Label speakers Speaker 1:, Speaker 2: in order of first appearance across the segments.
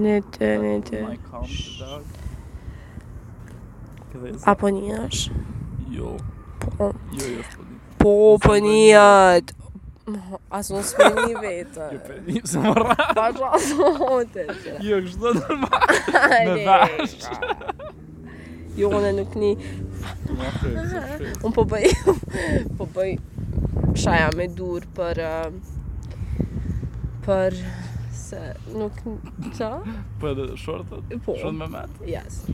Speaker 1: Në të, në të.
Speaker 2: Oh My calm dog. Këdhe sa-
Speaker 1: Apo një është?
Speaker 2: Jo,
Speaker 1: Po,
Speaker 2: jo, jo, s'po di.
Speaker 1: po,
Speaker 2: Mos
Speaker 1: po
Speaker 2: e bëj
Speaker 1: një atë. Aso në s'me një vetë.
Speaker 2: Jo, pe, një se më rra.
Speaker 1: Pasha aso hote.
Speaker 2: Jo, kështu normal. me vash.
Speaker 1: Jo, unë nuk një,
Speaker 2: Ma fej, se fej.
Speaker 1: unë po bëj, po bëj shaja me dur për, ë, për, se nuk, qa?
Speaker 2: Po edhe shortët?
Speaker 1: Po.
Speaker 2: Short me met?
Speaker 1: Yes.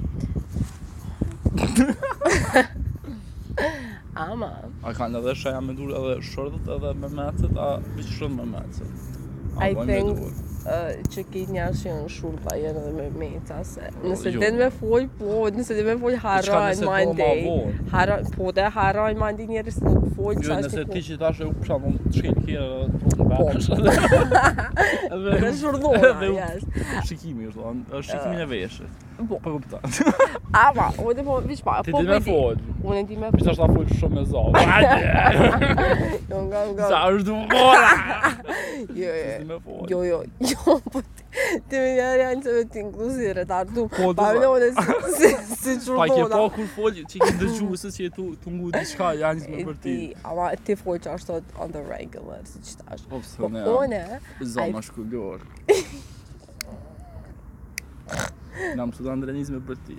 Speaker 1: Ama,
Speaker 2: A kanë edhe shaja me dur edhe shortët edhe me metët, a veç short me metët? A
Speaker 1: I
Speaker 2: bojnë me
Speaker 1: think-
Speaker 2: dur?
Speaker 1: uh, që ki një ashtë janë shurpa janë edhe me meta, se nëse
Speaker 2: Jo.
Speaker 1: jo. den me fol, po, nëse den me fol,
Speaker 2: Diçka
Speaker 1: harrojnë
Speaker 2: nëse po, ma
Speaker 1: mandej.
Speaker 2: vonë.
Speaker 1: Harrojnë, po dhe harrojnë mandej njerës nuk fol,
Speaker 2: Jo,
Speaker 1: qa është
Speaker 2: nëse
Speaker 1: një
Speaker 2: ti
Speaker 1: punë.
Speaker 2: që tash e u pësha, më të shkel kjerë edhe të në
Speaker 1: Po.
Speaker 2: bash. Edhe
Speaker 1: Dhe shurdhona,
Speaker 2: edhe u-
Speaker 1: yes.
Speaker 2: Shikimi është, thonë, është shikimin e veshit.
Speaker 1: Po.
Speaker 2: Po kupta.
Speaker 1: Ama, o dhe po, vish pa,
Speaker 2: Ti
Speaker 1: po
Speaker 2: di me
Speaker 1: bëj di-
Speaker 2: folë.
Speaker 1: Unë e di me
Speaker 2: Mi tash ta folë shumë me zavë. Ate!
Speaker 1: jo, nga, nga,
Speaker 2: Sa është du mora!
Speaker 1: jo,
Speaker 2: Ti
Speaker 1: jo,
Speaker 2: di me folë.
Speaker 1: jo, jo, jo, po, ti- ti me njerë janë që me t'inklusi retardu,
Speaker 2: Po,
Speaker 1: pa
Speaker 2: dhe-
Speaker 1: me unë si- si- si
Speaker 2: Pa ke po,
Speaker 1: shurdhona.
Speaker 2: pa kur folë që i ke dëgjuesës që i tu, tu ngu diçka janë me për ti.
Speaker 1: Ti, ama ti fol që ashtot on the regular, si që tash.
Speaker 2: Po pse
Speaker 1: Po
Speaker 2: ne?
Speaker 1: une,
Speaker 2: Za
Speaker 1: ai-
Speaker 2: mashkullor. Na më studan drenizme për ti.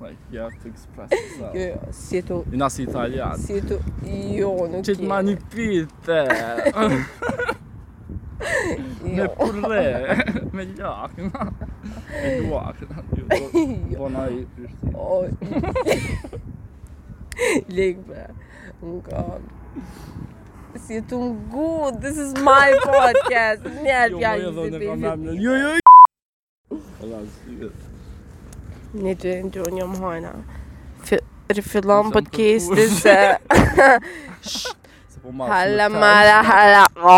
Speaker 2: Like, you have to express yourself.
Speaker 1: jo, jo, si tu,
Speaker 2: Në asë italian.
Speaker 1: si tu, jo, nuk
Speaker 2: Që të ma një pite, me
Speaker 1: jo,
Speaker 2: purre, me lak, me luak. Jo, do-
Speaker 1: jo,
Speaker 2: Do na i prishti.
Speaker 1: o, lek, bre, nga, si tu ngu, this is my podcast, njerë
Speaker 2: Jo, më
Speaker 1: pjallë,
Speaker 2: e
Speaker 1: si
Speaker 2: dhone ka
Speaker 1: bifit.
Speaker 2: mamë. Jo, jo, jo.
Speaker 1: Në të në të një më hajna, Fi- rifillon
Speaker 2: Isam
Speaker 1: podcastin
Speaker 2: kërkuar.
Speaker 1: se,
Speaker 2: Se po marrë.
Speaker 1: hala mara, hala, o,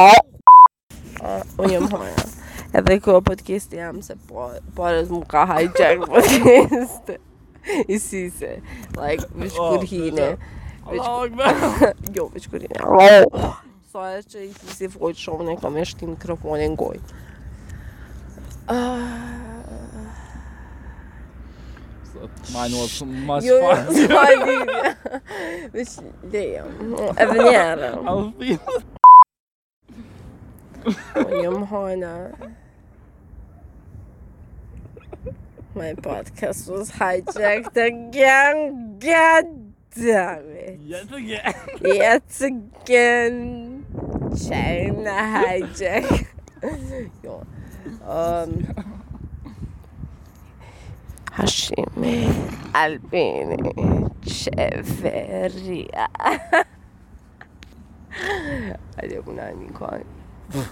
Speaker 1: A, unë jam hajna. Edhe kjo podcast jam se po, parës mu ka hijack podcast. I si se, like, vish kur hine.
Speaker 2: Allah, akbar.
Speaker 1: Jo, vish kur hine. Au! Sa e që i si fojtë shumë, ne kam e shti mikrofonin gojë. Ah,
Speaker 2: Mine was much
Speaker 1: Jo, jo,
Speaker 2: fun.
Speaker 1: s'ka lidhje. Vish, leja. Edhe njerë.
Speaker 2: I'll be
Speaker 1: Unë jam hajna. My podcast was hijacked again. God damn it.
Speaker 2: yet again.
Speaker 1: Yet again. China hijack. jo. Um, Hashimi, Albini, Qeveria. Hadi buna një kohë.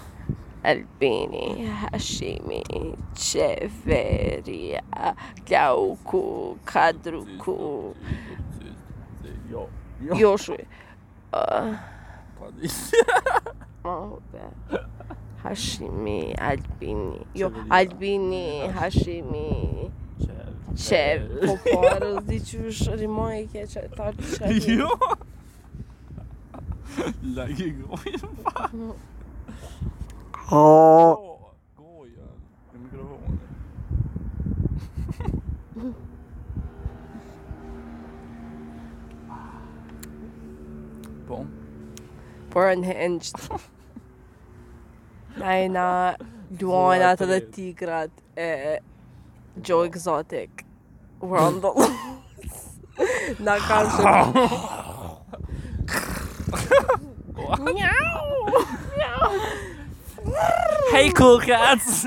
Speaker 1: Albini, Hashimi, Qeveria, Klauku, Kadruku,
Speaker 2: Jo. Jo.
Speaker 1: Joshua. Uh,
Speaker 2: Pa di.
Speaker 1: Oh, be. Hashimi, Albini. Jo,
Speaker 2: Qeveria.
Speaker 1: Albini, Hashimi. Qev, po parë, zdi që është rima e ke që ta të shërri.
Speaker 2: Jo. La i gojën pa. Oh. Gojën. Në mikrofonin. Po.
Speaker 1: Por unhinged. Najna, duanat edhe
Speaker 2: Zora Tereza.
Speaker 1: tigrat e Joe Exotic. We're on the Na kanë shumë. Mjau! Mjau!
Speaker 2: Hey cool cats.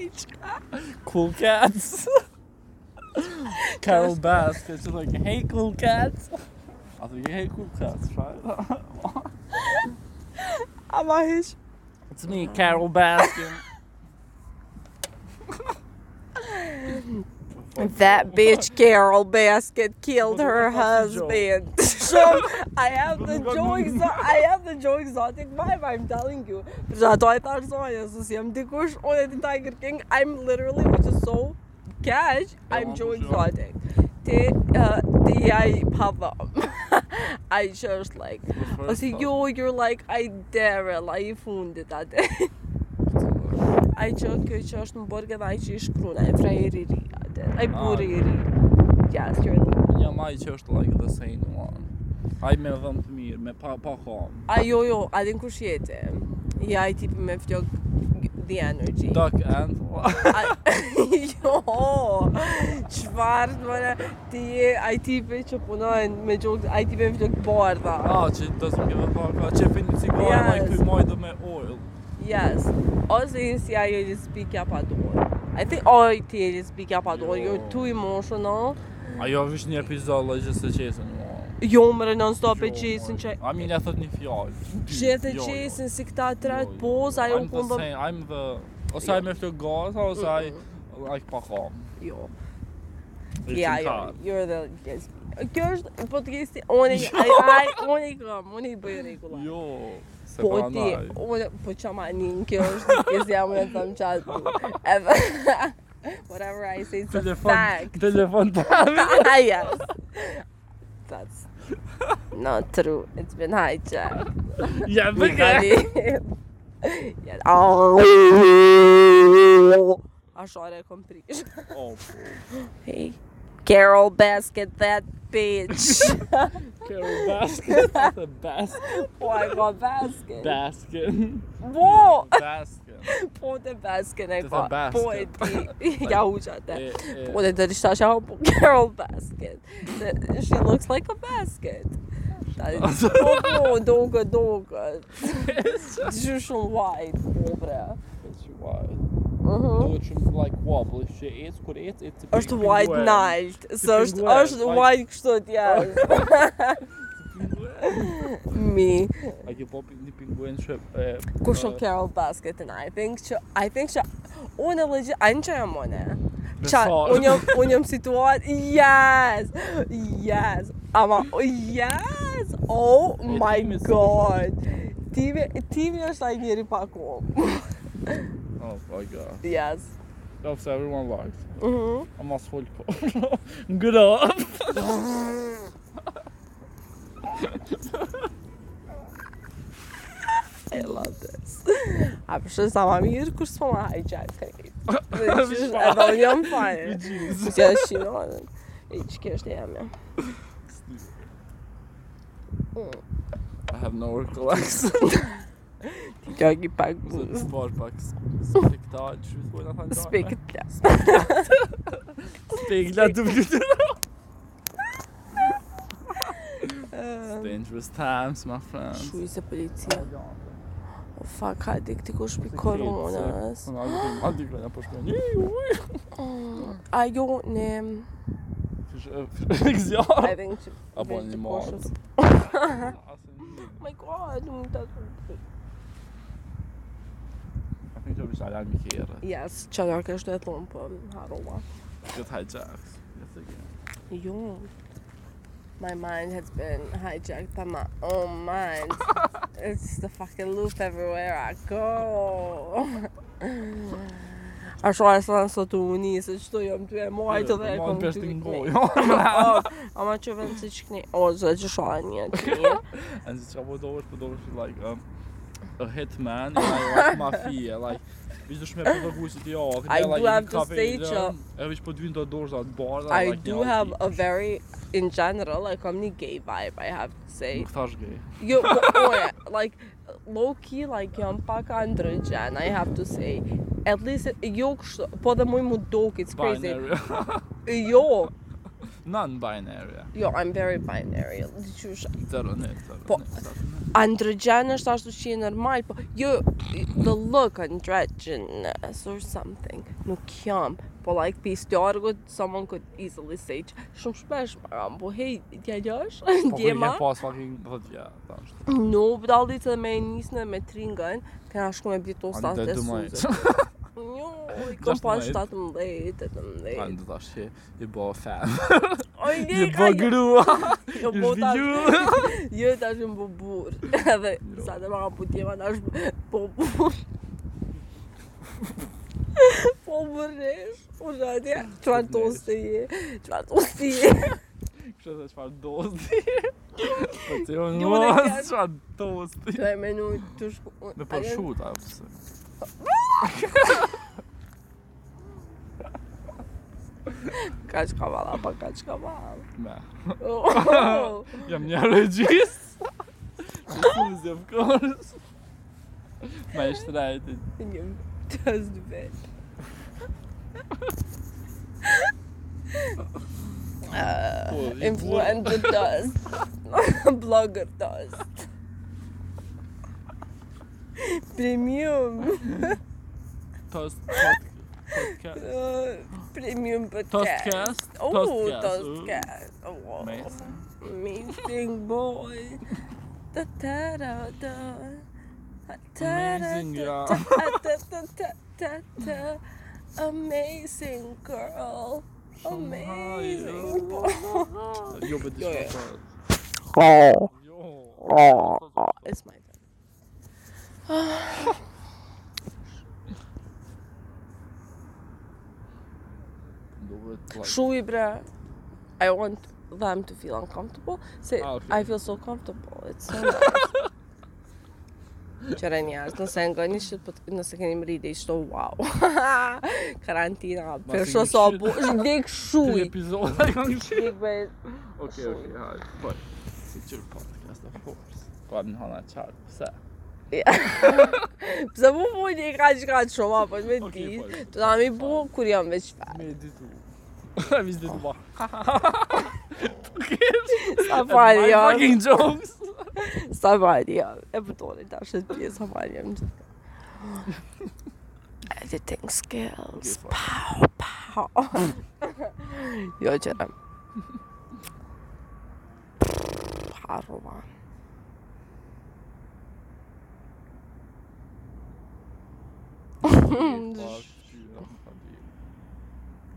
Speaker 2: cool cats. Carol Baskin, she's like, hey cool cats. I was like, hey cool cats, right?
Speaker 1: Ama hiç.
Speaker 2: it's me, Carol Baskin.
Speaker 1: That bitch Carol Basket killed her
Speaker 2: What's the
Speaker 1: husband. so I have the
Speaker 2: Nuk ka
Speaker 1: Joe
Speaker 2: mundë.
Speaker 1: Exotic I have the Joe Exotic vibe, I'm telling you. Për që ato e thash zonja, se si jam dikush, unë e ti Tiger King, I'm literally, which is so cash, I'm
Speaker 2: Tamam,
Speaker 1: Joe
Speaker 2: po, jo.
Speaker 1: Exotic. Ti, uh, ti jaj pavam. Ai që është like, ose jo, you're like, I dare, la i fundit atë. Ai që kjo që është në borgë dhe ai që i shkruan, ai frajeri i ri, atë.
Speaker 2: Ah.
Speaker 1: Ai burri i ri. Yes, you're the one.
Speaker 2: Jam ai që është like the same one. Ai me dhëm të mirë, me pa pa kam.
Speaker 1: Ai jo jo, a din kush jete? Ja ai tipi me flok the energy.
Speaker 2: Duck and
Speaker 1: Ai- jo, qëfar të mëre, ti je ai tipi që punojnë me gjokë, ai tipi me flok bardha.
Speaker 2: Ah, që doesn't give a fuck. Ah, që fin cigare
Speaker 1: Yes.
Speaker 2: like ky mojdo me oil.
Speaker 1: Yes. Ose i si ajo lesbika pa dorë. I think oh ti je lesbika pa dorë,
Speaker 2: Jo.
Speaker 1: you're too emotional.
Speaker 2: Ajo është një epizod like që se qesën. mua.
Speaker 1: Jo më rënon stop e
Speaker 2: Jo,
Speaker 1: qesin që
Speaker 2: A mi le thot një fjalë.
Speaker 1: gjithë e
Speaker 2: Jo, jo.
Speaker 1: qesin si këta tret
Speaker 2: Jo, jo.
Speaker 1: poz, ajo
Speaker 2: I'm the
Speaker 1: punë bë...
Speaker 2: same, I'm the ose ai me flok gaza ose ai like pa kam.
Speaker 1: Jo,
Speaker 2: It's
Speaker 1: ja,
Speaker 2: in
Speaker 1: jo,
Speaker 2: car.
Speaker 1: you're the lesbian. Kjo është podcasti, unë i, ai, ai, unë i kam, unë i bëj regullat.
Speaker 2: Jo. Se
Speaker 1: Po
Speaker 2: prandaj.
Speaker 1: ti, unë, po që ma njën, kjo është podcasti jam unë e të më qatë. Edhe, whatever I say, it's a
Speaker 2: Telefon,
Speaker 1: fact.
Speaker 2: telefon pa.
Speaker 1: yes. That's not true. It's been hijacked.
Speaker 2: Ja,
Speaker 1: We got
Speaker 2: bëke.
Speaker 1: it. yes. Oh. Ashore kom prish.
Speaker 2: Oh, po.
Speaker 1: Hey. Carol Basket that bitch.
Speaker 2: Carol Baskin. The Baskin.
Speaker 1: Why go basket?
Speaker 2: Baskin.
Speaker 1: Bo.
Speaker 2: Oh. Baskin.
Speaker 1: Po te basket e
Speaker 2: Të
Speaker 1: ka.
Speaker 2: tha
Speaker 1: Po e ti. Ja u qatë.
Speaker 2: E, e.
Speaker 1: Po te dërish tash apo po Carol Basket. That- She looks like a basket. Ta- Po po dogë dogë. Gjë shumë white, po bre.
Speaker 2: It's white.
Speaker 1: Mhm.
Speaker 2: Do shumë like wobbly shit. It's kur it's it's a
Speaker 1: Është white night, së është
Speaker 2: pinguer,
Speaker 1: është
Speaker 2: like-
Speaker 1: white kështu t'jas. Mi.
Speaker 2: A ke po një pinguen që e
Speaker 1: Kur shumë Carol Basket and I think që I think që unë legit anë që jam unë. Qa,
Speaker 2: Besar.
Speaker 1: unë jam, unë jam situat, yes, yes, ama, yes, oh
Speaker 2: E,
Speaker 1: my
Speaker 2: timi s'është.
Speaker 1: god. Timi, timi është ai njeri pa kohë.
Speaker 2: Oh my god.
Speaker 1: Yes.
Speaker 2: Loves everyone likes.
Speaker 1: Mhm.
Speaker 2: I must hold ko. Ngra.
Speaker 1: I love this. A përshën sa ma mirë, kur s'po ma hijack krejt. Dhe qysh, Edhe unë jam fajnë.
Speaker 2: Jesus.
Speaker 1: Që e shinohen. E që kjo është e jam jam.
Speaker 2: I have no recollection.
Speaker 1: Kjo e ki pak
Speaker 2: Zë të
Speaker 1: buzë.
Speaker 2: zbar pak s- spektakl, që të thujna thajnë
Speaker 1: Spek e plas.
Speaker 2: Spekla të vlutë
Speaker 1: Äh.
Speaker 2: Dangerous times, my friends
Speaker 1: Shuj se policia. O fuck, hajde, këti ku shpi koronës.
Speaker 2: Unë alë të alë të këllë, po shkojnë
Speaker 1: Mm. Ajo, jo, ne...
Speaker 2: Fish zjarë
Speaker 1: I think që...
Speaker 2: Apo
Speaker 1: vesh po, të
Speaker 2: një marë
Speaker 1: koshës. Oh my god, unë të...
Speaker 2: I
Speaker 1: Äh.
Speaker 2: think që vishë alarm i kjerë
Speaker 1: Yes, që nga kështë e thonë, po harova.
Speaker 2: Këtë hijacks Yes, again.
Speaker 1: Jo. My mind has been hijacked by my own mind. it's the fucking loop everywhere I go. A shoha e sënë sot u uni, se qëto jam ty e mojtë dhe e
Speaker 2: Mo
Speaker 1: kom
Speaker 2: në
Speaker 1: ty
Speaker 2: peshtë
Speaker 1: i
Speaker 2: në
Speaker 1: kni.
Speaker 2: gojë
Speaker 1: O, Ama që vend si që kni, o, zë që shoha një që
Speaker 2: And si që apo do është, po do është like um, A hitman, and I like mafia, like Vish dush me përdogu si ti jo, këtë
Speaker 1: I
Speaker 2: e like
Speaker 1: do
Speaker 2: një
Speaker 1: have to
Speaker 2: kafe
Speaker 1: say
Speaker 2: i lëm,
Speaker 1: që-
Speaker 2: E vish po dynë do dorë atë barë
Speaker 1: I do have a very, in general, I kom një gay vibe, I have to say.
Speaker 2: Nuk thash gay
Speaker 1: Jo, po ore, like, low key, like, jam pak androgen, I have to say. At least, jo kështu, po dhe muj mu dok, it's crazy.
Speaker 2: Binary
Speaker 1: Jo,
Speaker 2: Non-binary
Speaker 1: jo, I'm very binary. Qysh,
Speaker 2: Zero net, zero
Speaker 1: Po-
Speaker 2: net zero
Speaker 1: androgen është ashtu që je normal, po jo, the look androgynous or something. Nuk jam, po like, pis të argut, someone could easily say që shumë shpesh më ram, po hej, tja gjash,
Speaker 2: net. Po kur i
Speaker 1: djema.
Speaker 2: kem pas fucking dhët vjetë tash
Speaker 1: No, vdallit edhe me e nisën dhe me tringën, kena shku me bitu
Speaker 2: Ani
Speaker 1: stat
Speaker 2: të
Speaker 1: e
Speaker 2: du
Speaker 1: suzë.
Speaker 2: majtë
Speaker 1: Jo, i kom pas
Speaker 2: 16.
Speaker 1: 17,
Speaker 2: Ani
Speaker 1: 18.
Speaker 2: të tash që i bo fem
Speaker 1: Oj,
Speaker 2: I
Speaker 1: ne,
Speaker 2: bo grua
Speaker 1: jo,
Speaker 2: I
Speaker 1: po tash,
Speaker 2: shviju
Speaker 1: jo, tash më bu burë. Edhe,
Speaker 2: Jo.
Speaker 1: sa të marra putjeva, tash po burë. Po burësh, u shadja, qëfar tosti je, qëfar tosti je.
Speaker 2: Kështë se qëfar dosti Po ti unë
Speaker 1: Jo, unë e
Speaker 2: mos
Speaker 1: kam-
Speaker 2: qëfar dosti
Speaker 1: Të e menu të shku...
Speaker 2: Në
Speaker 1: a
Speaker 2: për
Speaker 1: janë-
Speaker 2: shut, a përse
Speaker 1: Kaç kavala pa kaç kavala.
Speaker 2: Me.
Speaker 1: Oh.
Speaker 2: Jam një regjist. Shumë of course. Ma e shtrajti.
Speaker 1: Një tas dy vetë.
Speaker 2: Po, i burr.
Speaker 1: Influencer does. Blogger does. Premium.
Speaker 2: Toast pod- podcast.
Speaker 1: Uh, Premium podcast.
Speaker 2: Toastcast?
Speaker 1: Oh,
Speaker 2: Toastcast,
Speaker 1: Toastcast. Oh,
Speaker 2: Amazing.
Speaker 1: amazing boy. Da da da da. Da, da, da,
Speaker 2: Amazing, yeah.
Speaker 1: da, da, da, da, da, da. Amazing girl. Amazing boy.
Speaker 2: Jo, bëti
Speaker 1: Jo,
Speaker 2: shkata.
Speaker 1: Oh.
Speaker 2: Jo.
Speaker 1: It's my turn.
Speaker 2: Duhet, like,
Speaker 1: Shui bre. I want them to feel uncomfortable. Se
Speaker 2: Ah, okay.
Speaker 1: I feel so comfortable. It's so nice. Qëre njerës, nëse nga një shqit, po t- nëse keni më rridi, ishto wow. Karantina, përsho
Speaker 2: një
Speaker 1: sa
Speaker 2: shqit.
Speaker 1: bu, është dik
Speaker 2: Dy
Speaker 1: shuj.
Speaker 2: epizoda i kanë qenë.
Speaker 1: Dik be,
Speaker 2: Okej, okej, hajde. Po. Si çur podcast of course. Po në hana çart. Pse?
Speaker 1: pëse mu bu një ka që ka të shumë, po me
Speaker 2: Okej,
Speaker 1: ti,
Speaker 2: po, e kuptoj.
Speaker 1: të da mi bu, kur jam veç fat.
Speaker 2: Me ditu. Mis ditu ba.
Speaker 1: Sa fali
Speaker 2: My
Speaker 1: jam,
Speaker 2: fucking jokes.
Speaker 1: sa fali jam, e përdojnë të ashtë të pjesë, sa fali jam gjithë. Editing skills,
Speaker 2: Okej,
Speaker 1: pow, pow. jo qëre. Harrova.
Speaker 2: Fuck you, I'm happy.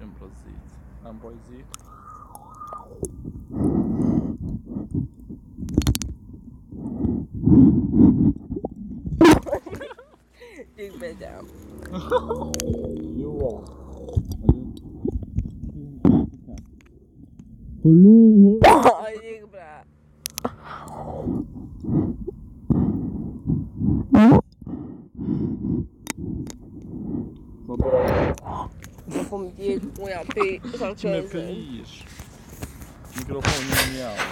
Speaker 2: Em Brazil. Em Brazil.
Speaker 1: Dik be jam.
Speaker 2: You all.
Speaker 1: Ai, dik bra. Në kom djek, unë jam pej, sa
Speaker 2: Me
Speaker 1: qëzë.
Speaker 2: plish. Mikrofoni në mjavë.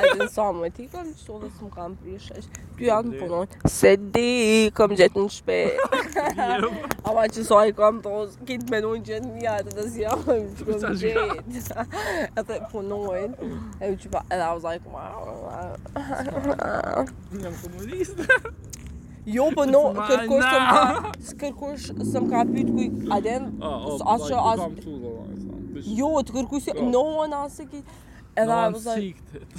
Speaker 1: Ajde në samë, ti kanë qëto dhe s'më kam prishesh. Ty janë të punojnë. Se di, kam gjetë në shpe. Ama që sa i kam tos, kitë menojnë që në mjatë dhe si jam, që
Speaker 2: Sa
Speaker 1: kam
Speaker 2: shka?
Speaker 1: gjetë. Edhe punojnë. E u që pa, edhe I was like, wow.
Speaker 2: Jam komunist.
Speaker 1: Jo, po no,
Speaker 2: Ma,
Speaker 1: kërkush të më
Speaker 2: na.
Speaker 1: ka, kërkush të më ka pyt kuj, aden,
Speaker 2: Oh,
Speaker 1: as që as,
Speaker 2: Come to the right side.
Speaker 1: jo, të kërkush,
Speaker 2: Jo.
Speaker 1: no one as e ki, edhe I was like,
Speaker 2: siktet.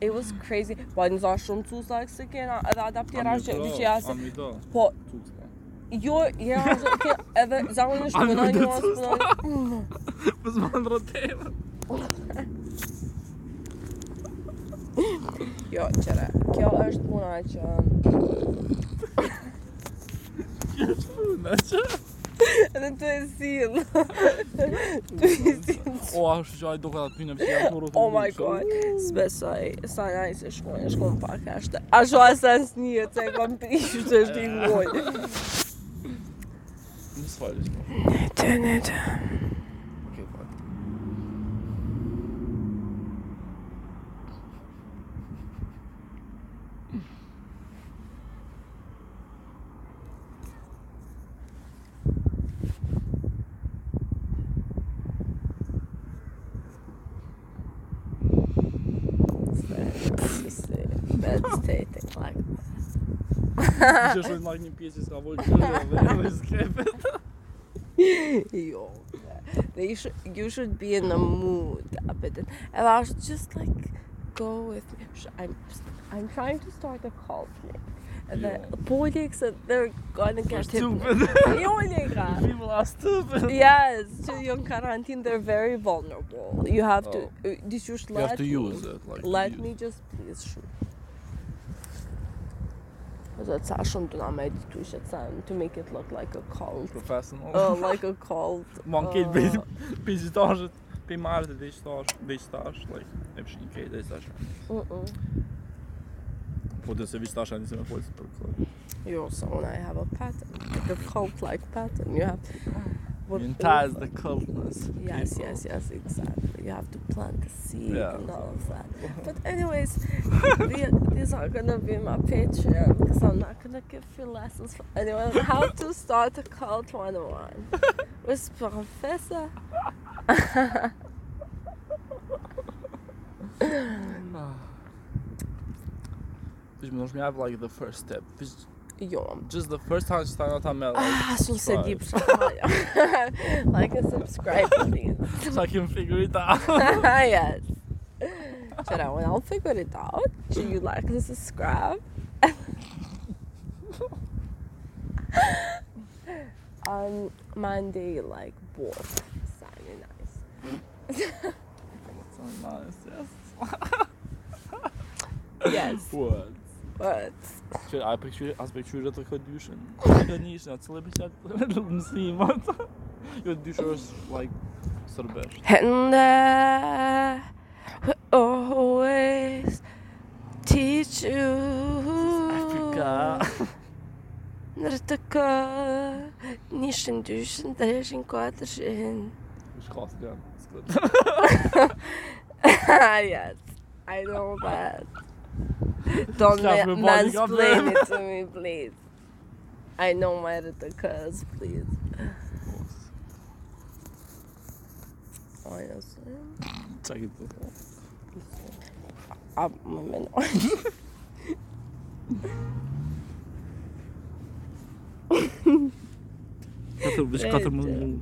Speaker 1: It was crazy. Po në za shumë cusa e këse kena edhe adaptjera që që ja se...
Speaker 2: Am i do.
Speaker 1: Po,
Speaker 2: Cucka.
Speaker 1: jo, ja se ke edhe zakonisht
Speaker 2: A nuk
Speaker 1: punoj
Speaker 2: do
Speaker 1: një mas
Speaker 2: cusa?
Speaker 1: punoj...
Speaker 2: Më zmanë rëteva.
Speaker 1: Jo, qëre, kjo është puna që...
Speaker 2: Në që?
Speaker 1: Edhe të e silë. Të e silë.
Speaker 2: O, ashtë që ajdo këtë aty në përsi janë të rëtë.
Speaker 1: Oh my god, s'besoj, sa najse shkojnë, shkojnë pak ashtë. A shu asens një, që e kom prishë që është i ngojnë.
Speaker 2: Më s'fajlë që.
Speaker 1: Të në të...
Speaker 2: Okej, fajlë.
Speaker 1: That's taking like...
Speaker 2: Që shumë like një pjesë që s'ka vojë kërë dhe edhe skepet.
Speaker 1: Yo, they should, you should be in the mood a bit, and I was just like, go with me. Sh- I'm, I'm trying to start a cult, Nick. And the
Speaker 2: Yeah.
Speaker 1: politics that they're gonna
Speaker 2: They're
Speaker 1: get
Speaker 2: stupid.
Speaker 1: You're
Speaker 2: People are stupid.
Speaker 1: Yes, to young quarantine, they're very vulnerable. You have to. Uh, did you
Speaker 2: Oh. You have
Speaker 1: let
Speaker 2: to
Speaker 1: me,
Speaker 2: use it. Like,
Speaker 1: Let
Speaker 2: use-
Speaker 1: me just please shoot. That's sa shumë të na me edituishet sen, to make it look like a cult.
Speaker 2: Professional.
Speaker 1: Uh, like a cult.
Speaker 2: Ma në
Speaker 1: uh,
Speaker 2: kejtë bejtë pizitashët, pe marrë dhe i shtash, dhe i shtash, like, e pëshin kejtë dhe i shtash.
Speaker 1: Mm-mm.
Speaker 2: Po dhe se vish tash anë nisi me folë për këtë.
Speaker 1: Yo, so when I have a pattern, like a cult-like pattern, you have to... what-
Speaker 2: Entice the coldness.
Speaker 1: Yes,
Speaker 2: people.
Speaker 1: yes, yes, exactly. You have to plant the seed
Speaker 2: Yeah.
Speaker 1: and all of that. But anyways, the, these are gonna be my Patreon because I'm not gonna give you lessons for anyone on how to start a cult 101 with Professor.
Speaker 2: Bitch, më nëshmi have like the first step. Bitch,
Speaker 1: Yo,
Speaker 2: just the first time që ta në ta me like,
Speaker 1: ah, so said deep. like and subscribe, please.
Speaker 2: sa kim figure it out.
Speaker 1: yes. Should I? Well, I'll figure it out. Do you like and subscribe? On Monday, like both. Sunday, nice.
Speaker 2: So nice, yes.
Speaker 1: Yes,
Speaker 2: What?
Speaker 1: but
Speaker 2: Që a pëkqyre, as pëkqyre të këtë dyshën. Këtë nishën, atë cële pëqyre mësimat. Jo, dyshër është like sërbesh.
Speaker 1: and I will always teach you.
Speaker 2: Afrika.
Speaker 1: Nërtëka, nishin, dyshin, treshin, katërshin.
Speaker 2: Shkasë kanë, s'kët.
Speaker 1: yes, I know that. Don't
Speaker 2: Stop
Speaker 1: ma-
Speaker 2: revolving up
Speaker 1: mansplain
Speaker 2: them.
Speaker 1: it to me, please. I know my little curse, please. Honestly,
Speaker 2: Qa këtë të thonë?
Speaker 1: I'm a man.
Speaker 2: Katër,
Speaker 1: Vetë.
Speaker 2: katër më